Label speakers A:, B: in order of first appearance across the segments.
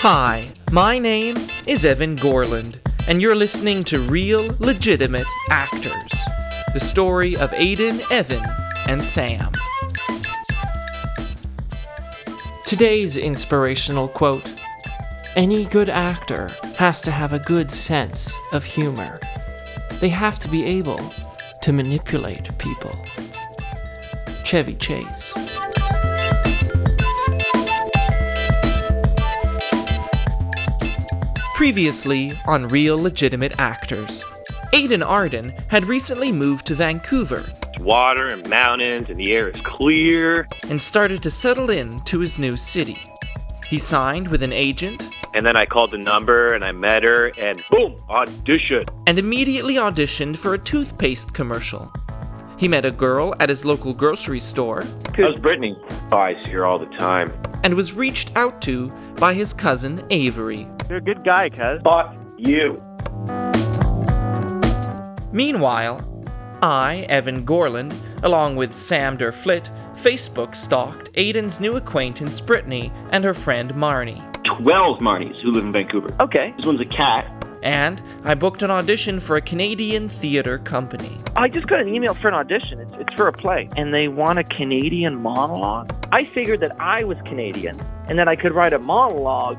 A: Hi, my name is Evan Gorland, and you're listening to Real Legitimate Actors the story of Aiden, Evan, and Sam. Today's inspirational quote Any good actor has to have a good sense of humor, they have to be able to manipulate people. Chevy Chase. Previously on Real Legitimate Actors, Aidan Arden had recently moved to Vancouver
B: It's water and mountains, and the air is clear.
A: and started to settle in to his new city. He signed with an agent
B: And then I called the number and I met her, and boom, audition.
A: and immediately auditioned for a toothpaste commercial. He met a girl at his local grocery store
B: How's Brittany? Oh, I see her all the time.
A: and was reached out to by his cousin Avery.
C: You're a good guy, cuz.
B: Fuck you.
A: Meanwhile, I, Evan Gorland, along with Sam Derflit, Facebook stalked Aiden's new acquaintance Brittany and her friend Marnie.
D: 12 Marnies who live in Vancouver.
C: Okay.
D: This one's a cat.
A: And I booked an audition for a Canadian theater company.
C: I just got an email for an audition. It's, it's for a play. And they want a Canadian monologue. I figured that I was Canadian and that I could write a monologue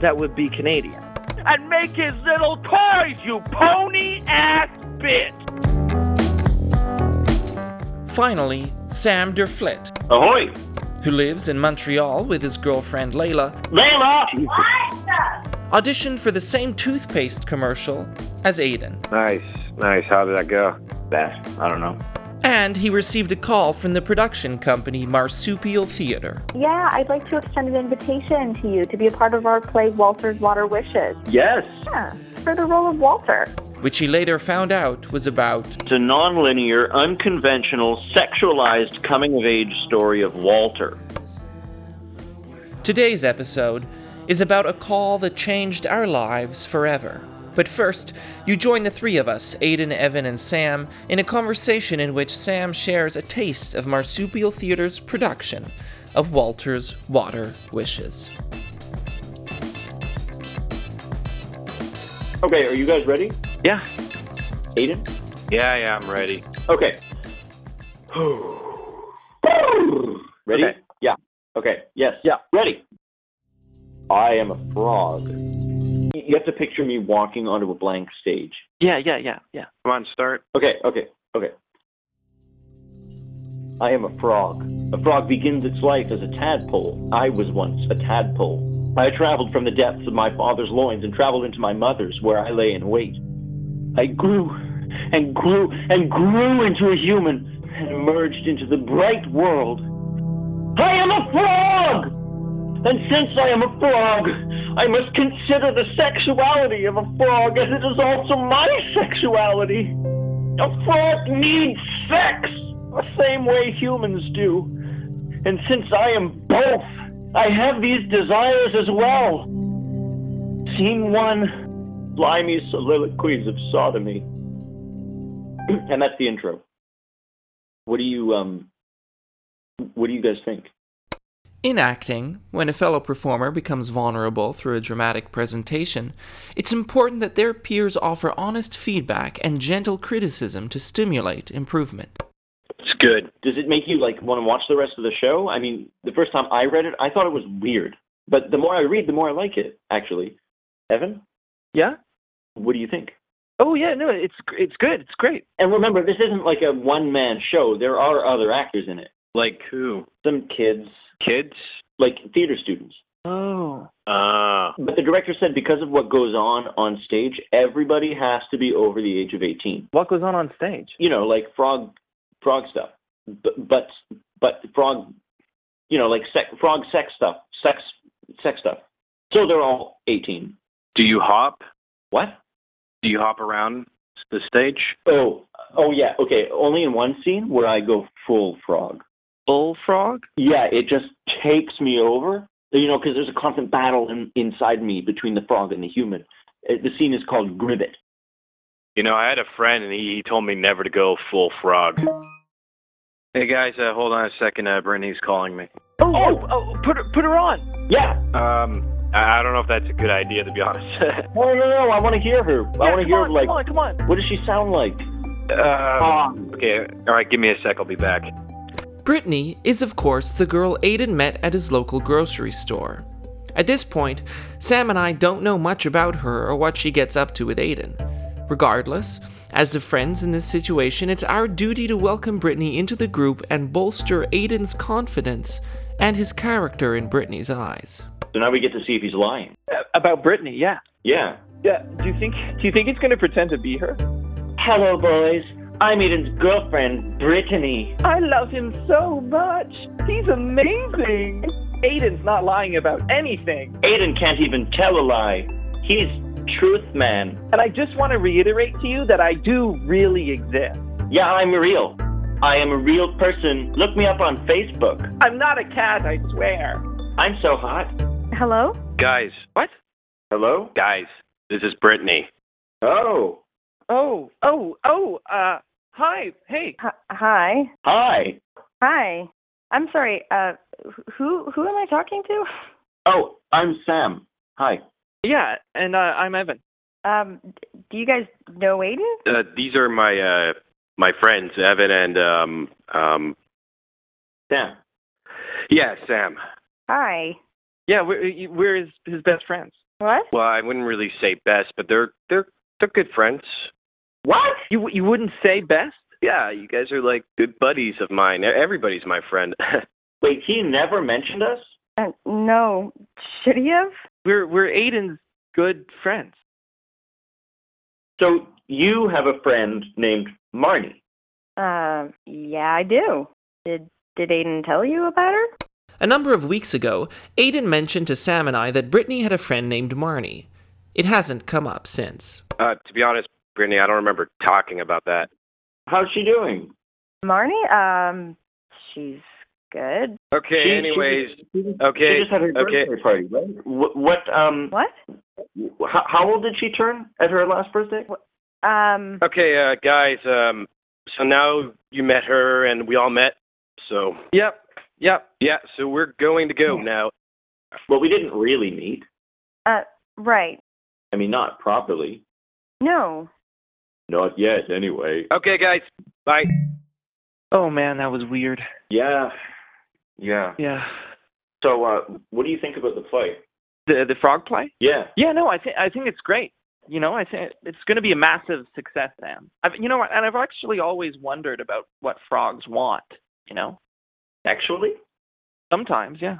C: that would be Canadian. And make his little toys, you pony ass bitch!
A: Finally, Sam Derflit,
D: Ahoy!
A: who lives in Montreal with his girlfriend Layla,
D: Layla!
A: auditioned for the same toothpaste commercial as Aiden.
B: Nice, nice. How did that go?
D: Bad. I don't know.
A: And he received a call from the production company Marsupial Theater.
E: Yeah, I'd like to extend an invitation to you to be a part of our play Walter's Water Wishes.
D: Yes!
E: Yeah, for the role of Walter.
A: which he later found out was about.
D: It's a nonlinear, unconventional, sexualized coming of age story of Walter.
A: Today's episode is about a call that changed our lives forever. But first, you join the three of us, Aidan, Evan, and Sam, in a conversation in which Sam shares a taste of Marsupial Theater's production of Walter's Water Wishes.
D: Okay, are you guys ready?
C: Yeah.
D: Aiden?
B: Yeah, yeah, I'm ready.
D: Okay. ready?
B: Okay.
D: Yeah. Okay. Yes. Yeah. Ready. I am a frog. You have to picture me walking onto a blank stage.
C: Yeah, yeah, yeah, yeah.
B: Come on, start.
D: Okay, okay, okay. I am a frog. A frog begins its life as a tadpole. I was once a tadpole. I traveled from the depths of my father's loins and traveled into my mother's, where I lay in wait. I grew and grew and grew into a human and emerged into the bright world. I am a frog! And since I am a frog, I must consider the sexuality of a frog, as it is also my sexuality. A frog needs sex, the same way humans do. And since I am both, I have these desires as well. Scene one Slimy Soliloquies of Sodomy. and that's the intro. What do you, um, what do you guys think?
A: In acting, when a fellow performer becomes vulnerable through a dramatic presentation, it's important that their peers offer honest feedback and gentle criticism to stimulate improvement.
B: It's good.
D: does it make you like want to watch the rest of the show? I mean, the first time I read it, I thought it was weird, but the more I read, the more I like it. Actually, Evan,
C: Yeah?
D: what do you think?
C: Oh, yeah, no, it's it's good. It's great.
D: And remember, this isn't like a one-man show. There are other actors in it.
B: Like who?
D: Some kids,
B: Kids?
D: like theater students.
C: Oh.
B: Uh,
D: But the director said because of what goes on on stage, everybody has to be over the age of 18.
C: What goes on on stage?
D: You know, like frog frog stuff. But but, but frog you know, like sex, frog sex stuff, sex sex stuff. So they're all 18.
B: do you hop?
D: What?
B: Do you hop around the stage?
D: Oh, oh yeah. Okay, only in one scene where I go full frog.
C: Bullfrog?
D: Yeah, it just takes me over. You know, because there's a constant battle in, inside me between the frog and the human. Uh, The scene is called Gribbet.
B: You know, I had a friend, and he, he told me never to go full frog. Hey guys, uh, hold on a second. Uh, Brittany's calling me.
C: Oh, oh, put her, put her on.
D: oh. Yeah.
B: Um, I, I don't know if that's a good idea, to be honest. Um,
D: No, no, no. I want to hear her. I
C: Yeah,
D: want to
C: come
D: hear
C: on,
D: like.
C: come on, come on.
D: What does she sound like?
B: uh, okay, all right, give me a sec. I'll be back.
A: Brittany is, of course, the girl Aiden met at his local grocery store. At this point, Sam and I don't know much about her or what she gets up to with Aiden. Regardless, as the friends in this situation, it's our duty to welcome Brittany into the group and bolster Aiden's confidence and his character in Brittany's eyes.
D: So now we get to see if he's lying.
C: Uh, About Brittany, yeah.
D: Yeah.
C: Yeah. Do you think do you think he's gonna pretend to be her?
D: Hello, boys. I'm Aiden's girlfriend, Brittany.
C: I love him so much. He's amazing. Aiden's not lying about anything.
D: Aiden can't even tell a lie. He's truth man.
C: And I just want to reiterate to you that I do really exist.
D: Yeah, I'm real. I am a real person. Look me up on Facebook.
C: I'm not a cat, I swear.
D: I'm so hot.
E: Hello?
B: Guys, what?
D: Hello?
B: Guys, this is Brittany.
D: Oh.
C: Oh, oh, oh, uh, hi, hey.
E: H- hi.
D: Hi.
E: Hi. I'm sorry. Uh, wh- who who am I talking to?
D: Oh, I'm Sam. Hi.
C: Yeah, and uh, I'm Evan.
E: Um, d- do you guys know Aiden?
B: Uh, these are my uh, my friends, Evan and um um
D: Sam.
B: yeah, Sam.
E: Hi.
C: Yeah, we're, we're his, his best friends.
E: What?
B: Well, I wouldn't really say best, but they're they're they're good friends.
D: What?
C: You, you wouldn't say best?
B: Yeah, you guys are like good buddies of mine. Everybody's my friend. Uh,
D: Wait, he never mentioned us?
E: Uh, no. Should he have?
C: We're, we're Aiden's good friends.
D: So you have a friend named Marnie.
E: Um, yeah, I do. Did did Aiden tell you about her?
A: A number of weeks ago, Aiden mentioned to Sam and I that Brittany had a friend named Marnie. It hasn't come up since.
B: uh, to be honest, Brittany, I don't remember talking about that.
D: How's she doing?
E: Marnie? Um, she's good.
B: Okay,
D: She- she-
B: anyways,
D: she just-
B: okay,
D: She just had her
B: okay.
D: birthday party, right? What, what um,
E: What?
D: how, how old did she turn at her last birthday?
E: Um,
B: Okay, uh, guys. Um, so now you met her, and we all met. So
C: Yep, yep.
B: yeah, so we're going to go now.
D: Well, we didn't really meet.
E: uh, right.
D: I mean, not properly.
E: No.
D: Not yet, anyway.
B: Okay, guys. Bye.
C: Oh, man, that was weird.
D: Yeah. Yeah.
C: Yeah.
D: So, uh, what do you think about the fight?
C: The, the frog play?
D: Yeah.
C: Yeah, no, I think I think it's great. You know, I think it's going to be a massive success, Sam. I've, you know, and I've actually always wondered about what frogs want. You know,
D: Actually?
C: sometimes, yeah.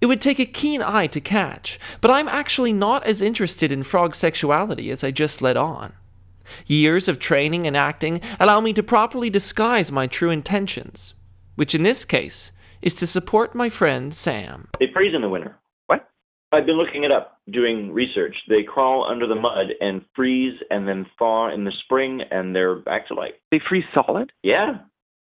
A: It would take a keen eye to catch, but I'm actually not as interested in frog sexuality as I just let on. Years of training and acting allow me to properly disguise my true intentions, which in this case is to support my friend Sam.
D: They freeze in the winter.
C: What?
D: I've been looking it up, doing research. They crawl under the mud and freeze and then thaw in the spring and they're back to life.
C: They freeze solid.
D: Yeah.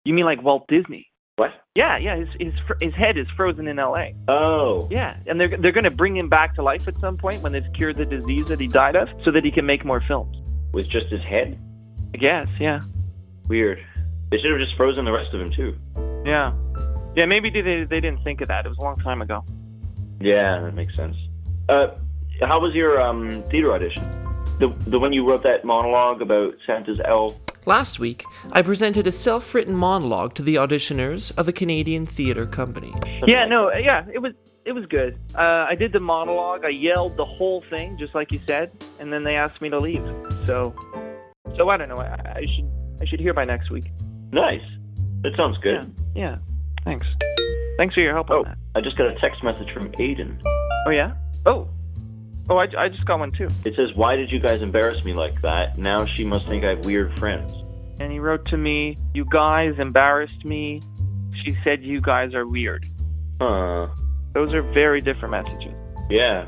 C: You mean like Walt Disney?
D: What?
C: Yeah, yeah. His his fr- his head is frozen in L.A.
D: Oh.
C: Yeah, and they're they're going to bring him back to life at some point when they've cured the disease that he died of, so that he can make more films.
D: With just his head?
C: I guess. Yeah.
D: Weird. They should have just frozen the rest of him, too.
C: Yeah. Yeah. Maybe they they didn't think of that. It was a long time ago.
D: Yeah, that makes sense. Uh, how was your um, theater audition? The, the one you wrote that monologue about Santa's elf?
A: Last week, I presented a self written monologue to the auditioners of a Canadian theatre company.
C: yeah no yeah it was it was good uh, i did the monologue i yelled the whole thing just like you said and then they asked me to leave so so i don't know i, I should i should hear by next week
D: Nice. That sounds good.
C: yeah thanks thanks for your help
D: Oh,
C: on that
D: I just got a text message from Aiden.
C: oh yeah oh oh I, I just got one too
D: It says, Why did you guys embarrass me like that? Now she must think I have weird friends.
C: and he wrote to me you guys embarrassed me she said you guys are weird
D: Huh.
C: those are very different messages
D: Yeah.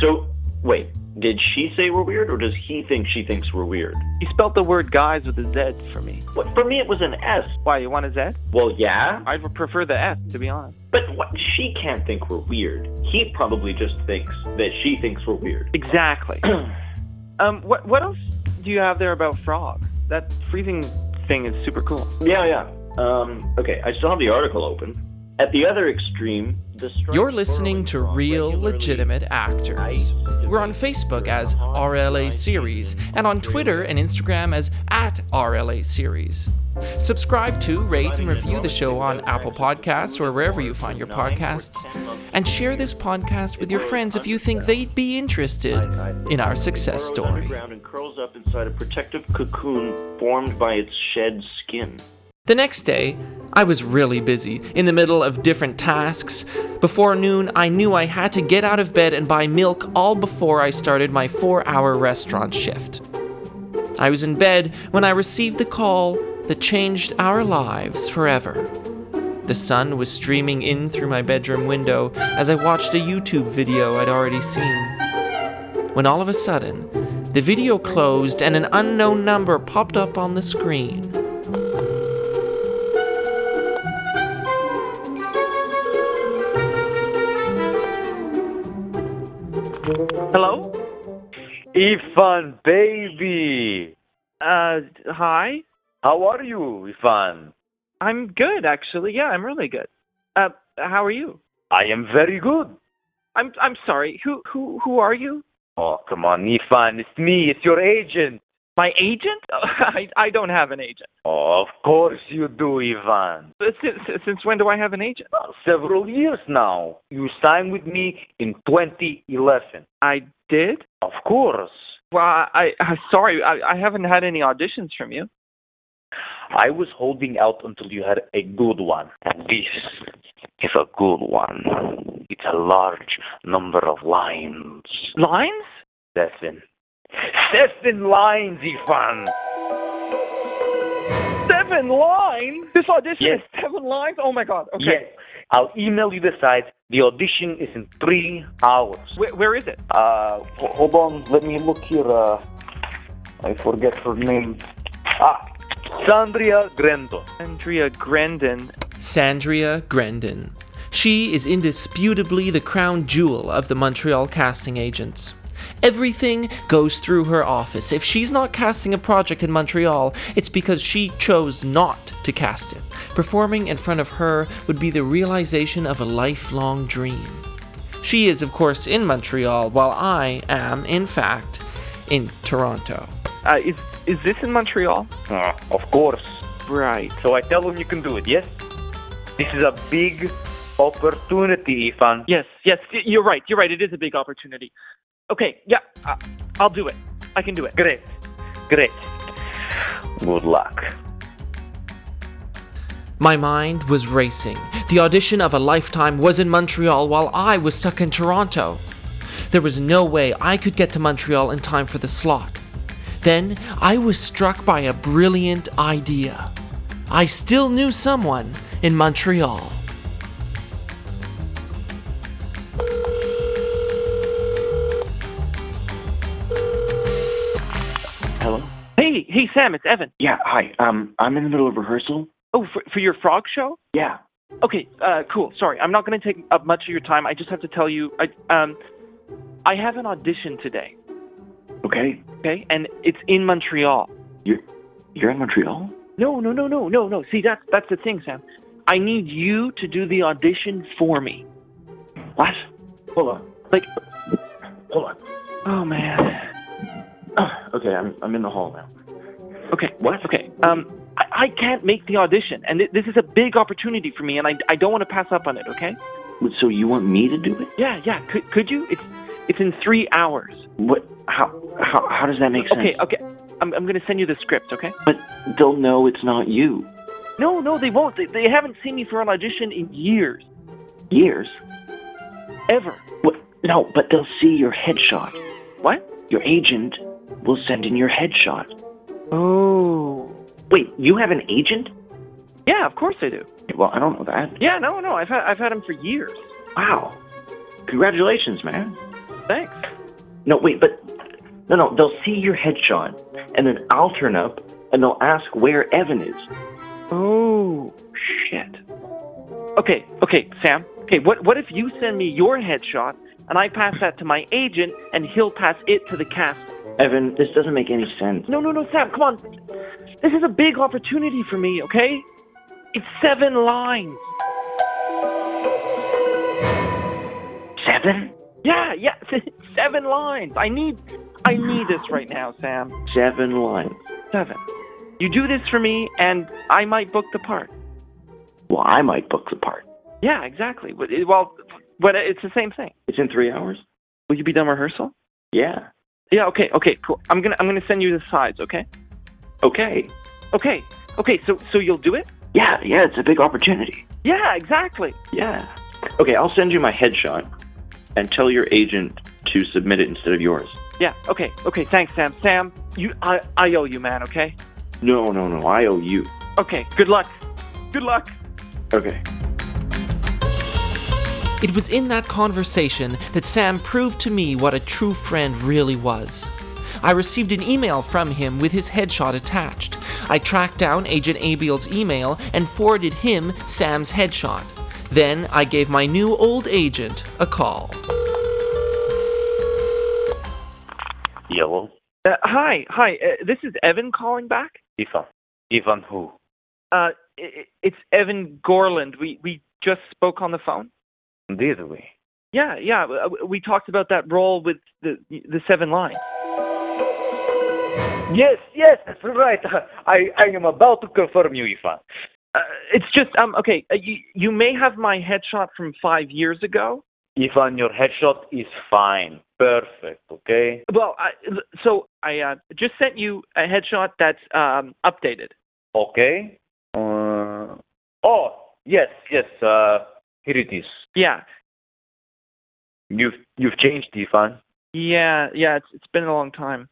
D: So, wait, did she say we're weird or does he think she thinks we're weird?
C: he spelled the word guys with a z for me
D: What, for me, it was an S.
C: why you want a z
D: Well, yeah,
C: i would prefer the s to be honest
D: but what, she can't think we're weird. He probably just thinks that she thinks we're weird.
C: exactly Um, what what else do you have there about frog? That freezing thing is super cool.
D: Yeah, yeah. Um, okay, I still have the article open. At the other extreme, The stripes
A: You're listening
D: burrowing
A: to
D: frog
A: Real
D: regularly
A: Legitimate Actors. We're on Facebook as RLA Series and on Twitter and Instagram as at RLA Series. Subscribe to, rate, and review the show on Apple Podcasts or wherever you find your podcasts. And share this podcast with your friends if you think they'd be interested in our success
D: burrows
A: story.
D: underground and curls up inside a protective cocoon formed by its shed skin.
A: The next day, I was really busy, in the middle of different tasks. Before noon, I knew I had to get out of bed and buy milk all before I started my four hour restaurant shift. I was in bed when I received the call that changed our lives forever. The sun was streaming in through my bedroom window as I watched a YouTube video I'd already seen when all of a sudden, the video closed and an unknown number popped up on the screen.
C: Hello?
F: Ifan, baby!
C: Uh, hi?
F: How are you, Ifan?
C: I'm good, actually. Yeah, I'm really good. Uh, how are you?
F: I am very good.
C: I'm I'm sorry. Who who who are you?
F: Oh, come on, Ifan, it's me, it's your agent.
C: My agent? I I don't have an agent.
F: Oh, of course you do, Ivan.
C: But Since since when do I have an agent?
F: Well, several years now. You signed with me in 2011.
C: I did.
F: Of course.
C: Well, I, I sorry. I I haven't had any auditions from you.
F: I was holding out until you had a good one. And this is a good one. It's a large number of lines.
C: Lines?
F: Seven. Seven lines, Ivan!
C: Seven lines? This audition
F: Yes.
C: is seven lines. Oh my god. Okay.
F: Yes. I'll email you the site. The audition is in three hours.
C: Where, where is it?
F: Uh, ho- hold on. Let me look here. Uh, I forget her name. Ah, Sandria Grendo.
C: Andrea Grendon.
A: Sandria Grendon. She is indisputably the crown jewel of the Montreal casting agents. Everything goes through her office. If she's not casting a project in Montreal, it's because she chose not to cast it. Performing in front of her would be the realization of a lifelong dream. She is, of course, in Montreal, while I am, in fact, in Toronto.
C: Uh, is is this in Montreal?
F: Ah, of course.
C: Right.
F: So I tell him you can do it, yes? This is a big opportunity, Ifan.
C: Yes. Yes. y- You're right. You're right. It is a big opportunity. Okay. Yeah. Uh, I'll do it. I can do it.
F: Great. Great. Good luck.
A: My mind was racing. The audition of a lifetime was in Montreal while I was stuck in Toronto. There was no way I could get to Montreal in time for the slot. Then I was struck by a brilliant idea. I still knew someone in Montreal.
D: Hello?
C: Hey. Hey, Sam. It's Evan.
D: Yeah, hi. Um, I'm in the middle of rehearsal.
C: Oh, for, for your frog show?
D: Yeah.
C: Okay, uh, cool. Sorry, I'm not going to take up much of your time. I just have to tell you, I, um, I have an audition today,
D: Okay.
C: okay? And it's in Montreal.
D: You're you're in Montreal?
C: No, no, no, no, no, no. See, that's that's the thing, Sam. I need you to do the audition for me.
D: What? Hold on.
C: Like,
D: Hold on.
C: oh man.
D: Ah, okay, I'm I'm in the hall now.
C: Okay, what? Okay, um, I, I can't make the audition, and th- this is a big opportunity for me, and I, I don't want to pass up on it. Okay?
D: Wait, So you want me to do it?
C: Yeah, yeah. Could could you? It's it's in three hours.
D: What? How? How? How does that make sense?
C: Okay, okay. I'm I'm going to send you the script. Okay?
D: But they'll know it's not you.
C: No, no, they won't. They, they haven't seen me for an audition in years,
D: Years?
C: ever.
D: What? No, but they'll see your headshot.
C: What?
D: Your agent will send in your headshot.
C: Oh.
D: Wait, you have an agent?
C: Yeah, of course I do.
D: Well, I don't know that.
C: Yeah, no, no, I've had I've had him for years.
D: Wow. Congratulations, man.
C: Thanks.
D: No, wait, but no, no. They'll see your headshot, and then I'll turn up, and they'll ask where Evan is.
C: Oh shit. Okay, okay, Sam. Okay, what what if you send me your headshot and I pass that to my agent and he'll pass it to the cast?
D: Evan, this doesn't make any sense.
C: No, no, no, Sam, come on. This is a big opportunity for me, okay? It's seven lines.
F: Seven?
C: Yeah, yeah, seven lines. I need, I need this right now, Sam.
D: Seven lines.
C: Seven. You do this for me, and I might book the part.
D: Well, I might book the part.
C: Yeah, exactly. But it- Well, but it's the same thing.
D: It's in three hours?
C: Will you be done rehearsal?
D: Yeah.
C: Yeah. Okay. Okay. Cool. I'm gonna, I'm gonna send you the sides. Okay.
D: Okay.
C: Okay. Okay. So, so you'll do it?
D: Yeah, yeah, it's a big opportunity.
C: Yeah. Exactly.
D: Yeah. Okay, I'll send you my headshot and tell your agent to submit it instead of yours.
C: Yeah. Okay. Okay. Thanks, Sam. Sam, you, I, I owe you, man. Okay.
D: No, no, no, I owe you.
C: Okay. Good luck. Good luck.
D: Okay.
A: It was in that conversation that Sam proved to me what a true friend really was. I received an email from him with his headshot attached. I tracked down Agent Abiel's email and forwarded him Sam's headshot. Then I gave my new old agent a call.
F: Yellow?
C: Uh, hi. Hi. Uh, this is Evan calling back.
F: Ivan. Ivan who?
C: Uh, i- it's Evan Gorland. We we just spoke on the phone.
F: Did we?
C: Yeah, yeah. w- We talked about that role with the the seven lines.
F: Yes, yes, that's right. I, I am about to confirm you, Ivan.
C: Uh, it's just um okay. Uh, you you may have my headshot from five years ago.
F: Ivan, your headshot is fine. Perfect, okay?
C: Well, I, so I uh, just sent you a headshot that's um updated.
F: Okay? Uh, oh, yes, yes, uh, here it is.
C: Yeah,
F: You've, you've changed, Ivan.
C: yeah, yeah. It's it's been a long time.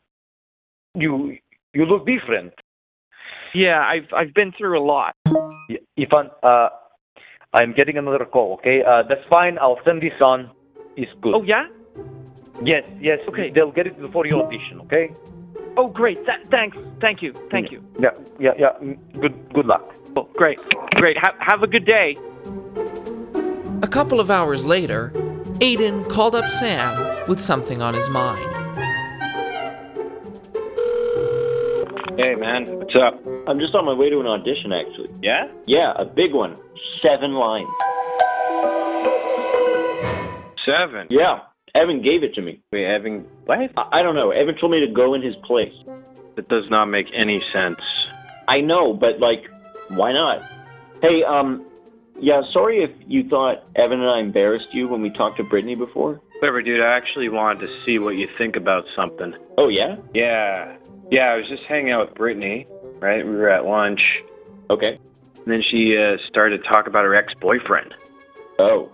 F: You, you look different.
C: Yeah, I've I've been through a lot.
F: Y- Ivan, uh, I'm getting another call, okay? Uh, that's fine. I'll send this on. It's good.
C: Oh yeah.
F: Yes, yes.
C: Okay.
F: They'll get it before your audition, okay?
C: Oh great. That, thanks. Thank you. Thank you.
F: Yeah, yeah, yeah. Mm, Good, good luck.
C: Cool. Great. Great. Ha- have a good day.
A: A couple of hours later, Aiden called up Sam with something on his mind.
B: Hey, man. What's up?
D: I'm just on my way to an audition, actually.
B: Yeah?
D: Yeah, a big one. Seven lines.
B: Seven.
D: Yeah, Evan gave it to me.
B: Wait, Evan. What?
D: I, I don't know. Evan told me to go in his place.
B: That does not make any sense.
D: I know, but like, why not? Hey, um, yeah, sorry if you thought Evan and I embarrassed you when we talked to Brittany before.
B: Whatever, dude. I actually wanted to see what you think about something.
D: Oh, yeah?
B: Yeah. Yeah, I was just hanging out with Brittany, right? We were at lunch.
D: Okay.
B: And then she uh, started to talk about her ex boyfriend.
D: Oh,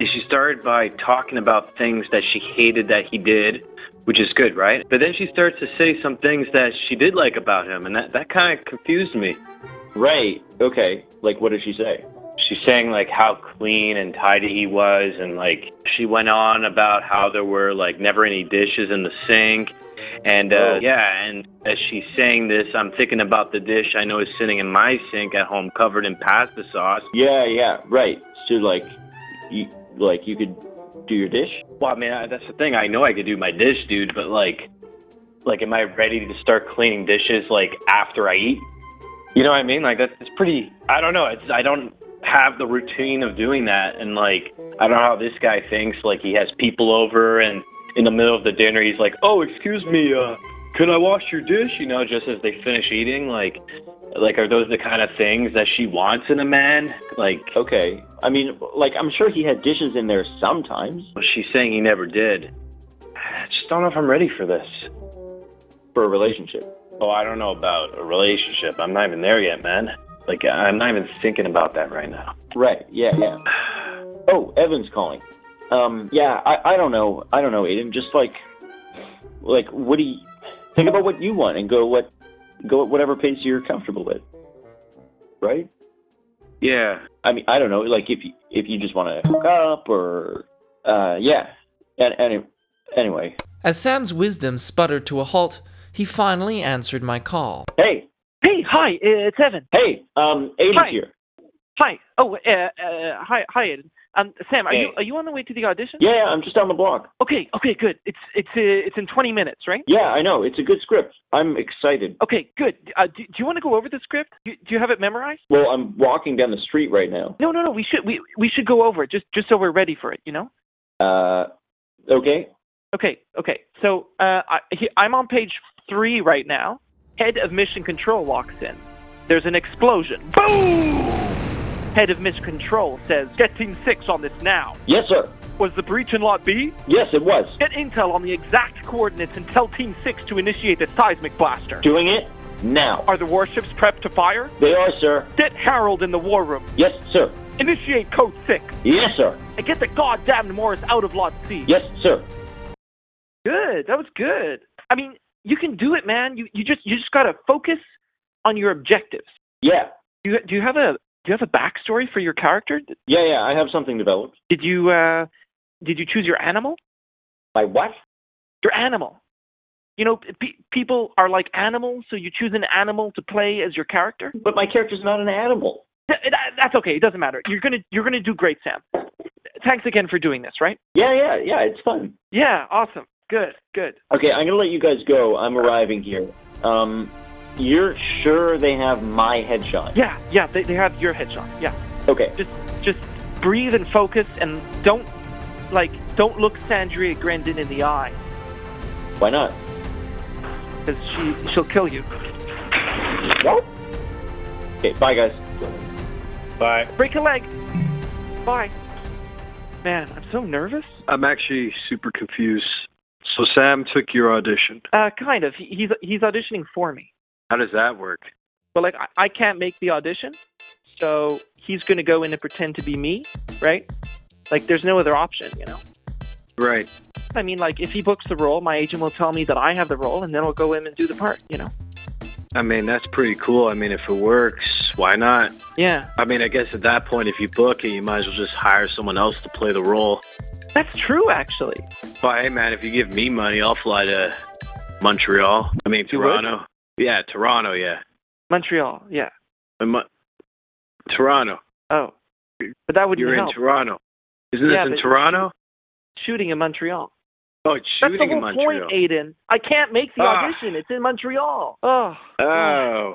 B: She started by talking about things that she hated that he did, which is good, right? But then she starts to say some things that she did like about him, and that, that kind of confused me.
D: right. Okay. Like, what did she say?
B: She's saying like how clean and tidy he was, and like she went on about how there were like never any dishes in the sink, and uh,
D: Oh.
B: yeah, and as she's saying this, I'm thinking about the dish I know is sitting in my sink at home, covered in pasta sauce.
D: Yeah, yeah, right. So, like, you, like you could do your dish?
B: Well, I mean, I, that's the thing. I know I could do my dish, dude, but like, like, am I ready to start cleaning dishes like after I eat? You know what I mean? Like, that's it's pretty. I don't know. It's I don't have the routine of doing that, and like, I don't know how this guy thinks. Like, he has people over, and in the middle of the dinner, he's like, "Oh, excuse me, uh, could I wash your dish?" You know, just as they finish eating, like. Like, are those the kind of things that she wants in a man? Like,
D: Okay. I mean, like, I'm sure he had dishes in there sometimes.
B: she's saying he never did. I just don't know if I'm ready for this.
D: for a relationship.
B: Oh, I don't know about a relationship. I'm not even there yet, man. Like, I'm not even thinking about that right now.
D: Right. Yeah. Yeah. Oh, Evan's calling. Um. Yeah. I. I don't know. I don't know, Aiden. Just like, like, what do you think about what you want and go what, go at whatever pace you're comfortable with. Right.
B: Yeah.
D: I mean, I don't know. Like, if you if you just want to hook up or, uh, yeah. And any, anyway.
A: As Sam's wisdom sputtered to a halt, he finally answered my call.
D: Hey.
C: Hey, hi. It's Evan.
D: Hey. Um. Aiden's
C: Hi.
D: here.
C: Hi. Oh, uh, uh, hi, hi, Aiden. Um, Sam, are
D: Hey.
C: you are you on the way to the audition?
D: Yeah. yeah, I'm just on the block.
C: Okay. Okay. Good. It's it's uh, it's in 20 minutes, right?
D: Yeah. I know. It's a good script. I'm excited.
C: Okay. Good. Uh, do, do you want to go over the script? Do, do you have it memorized?
D: Well, I'm walking down the street right now.
C: No, no, no. We should we we should go over it just just so we're ready for it. You know.
D: Uh, okay.
C: Okay, okay. So uh, I, he, I'm on page three right now. Head of Mission Control walks in. There's an explosion. Boom! Head of Mission Control says, "Get Team Six on this now."
D: Yes, sir.
C: Was the breach in Lot B?
D: Yes, it was.
C: Get intel on the exact coordinates and tell Team Six to initiate the seismic blaster.
D: Doing it now.
C: Are the warships prepped to fire?
D: They are, sir.
C: Get Harold in the war room.
D: Yes, sir.
C: Initiate Code Six
D: Yes, sir.
C: and get the goddamn Morris out of Lot C.
D: Yes, sir.
C: Good. That was good. I mean, you can do it, man. You you just you just gotta focus on your objectives.
D: Yeah.
C: Do you, do you have a do you have a backstory for your character?
D: Yeah, yeah. I have something developed.
C: Did you uh, did you choose your animal?
D: My what?
C: Your animal. You know, pe- people are like animals, so you choose an animal to play as your character.
D: But my character's not an animal.
C: Th- that- that's okay. It doesn't matter. You're gonna you're gonna do great, Sam. Thanks again for doing this. Right?
D: Yeah, yeah, yeah. It's fun.
C: Yeah. Awesome. Good. Good.
D: Okay, I'm gonna let you guys go. I'm arriving here. Um, you're sure they have my headshot?
C: Yeah. Yeah. They they have your headshot. Yeah.
D: Okay.
C: just just breathe and focus and don't like don't look Sandria Grendon in the eye
D: Why not?
C: because she she'll kill you.
D: Okay. Bye, guys.
B: Bye.
C: Break a leg. Bye. Man, I'm so nervous.
G: I'm actually super confused. So Sam took your audition.
C: Uh, kind of. He, he's he's auditioning for me,
G: How does that work?
C: but like I, I can't make the audition, so he's gonna go in and pretend to be me, right? Like there's no other option, you know.
G: Right.
C: I mean, like if he books the role, my agent will tell me that I have the role, and then I'll go in and do the part, you know.
G: I mean, that's pretty cool. I mean, if it works, why not?
C: Yeah,
G: I mean, I guess at that point, if you book it, you might as well just hire someone else to play the role.
C: that's true actually.
G: But hey, man, if you give me money, I'll fly to Montreal. I mean,
C: You would?
G: Toronto. Yeah, Toronto, yeah.
C: Montreal, yeah.
G: And Mon- Toronto.
C: Oh, but that wouldn't
G: You're in
C: help.
G: Toronto. Isn't this
C: Yeah,
G: in
C: but-
G: Toronto?
C: shooting in Montreal.
G: Oh, it's
C: That's
G: shooting
C: the whole
G: in Montreal.
C: point, Aiden. I can't make the
G: Ah.
C: audition. It's in Montreal. Oh,
G: oh.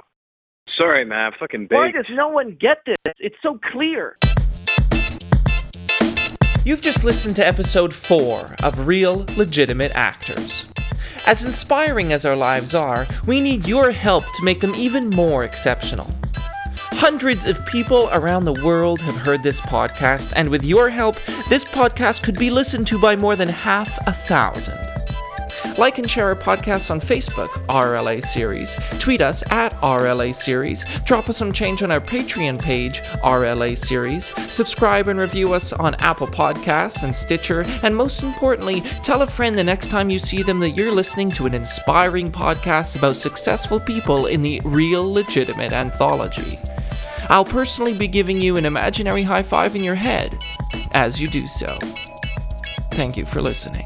G: Sorry, man. I Fucking
C: why
G: big.
C: does no one get this? It's so clear.
A: You've just listened to episode 4 of Real Legitimate Actors. As inspiring as our lives are, we need your help to make them even more exceptional. Hundreds of people around the world have heard this podcast, and with your help, this podcast could be listened to by more than half a thousand. Like and share our podcasts on Facebook, RLA Series. Tweet us at RLA Series. Drop us some change on our Patreon page, RLA Series. Subscribe and review us on Apple Podcasts and Stitcher. And most importantly, tell a friend the next time you see them that you're listening to an inspiring podcast about successful people in the real legitimate anthology. I'll personally be giving you an imaginary high five in your head as you do so. Thank you for listening.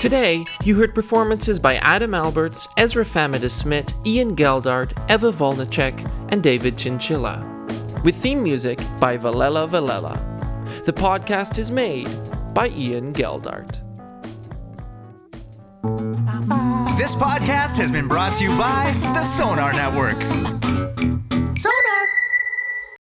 A: Today, you heard performances by Adam Alberts, Ezra Famida Smith, Ian Geldart, Eva Volnicek, and David Chinchilla, with theme music by Valella Valella. The podcast is made by Ian Geldart.
H: This podcast has been brought to you by the Sonar Network.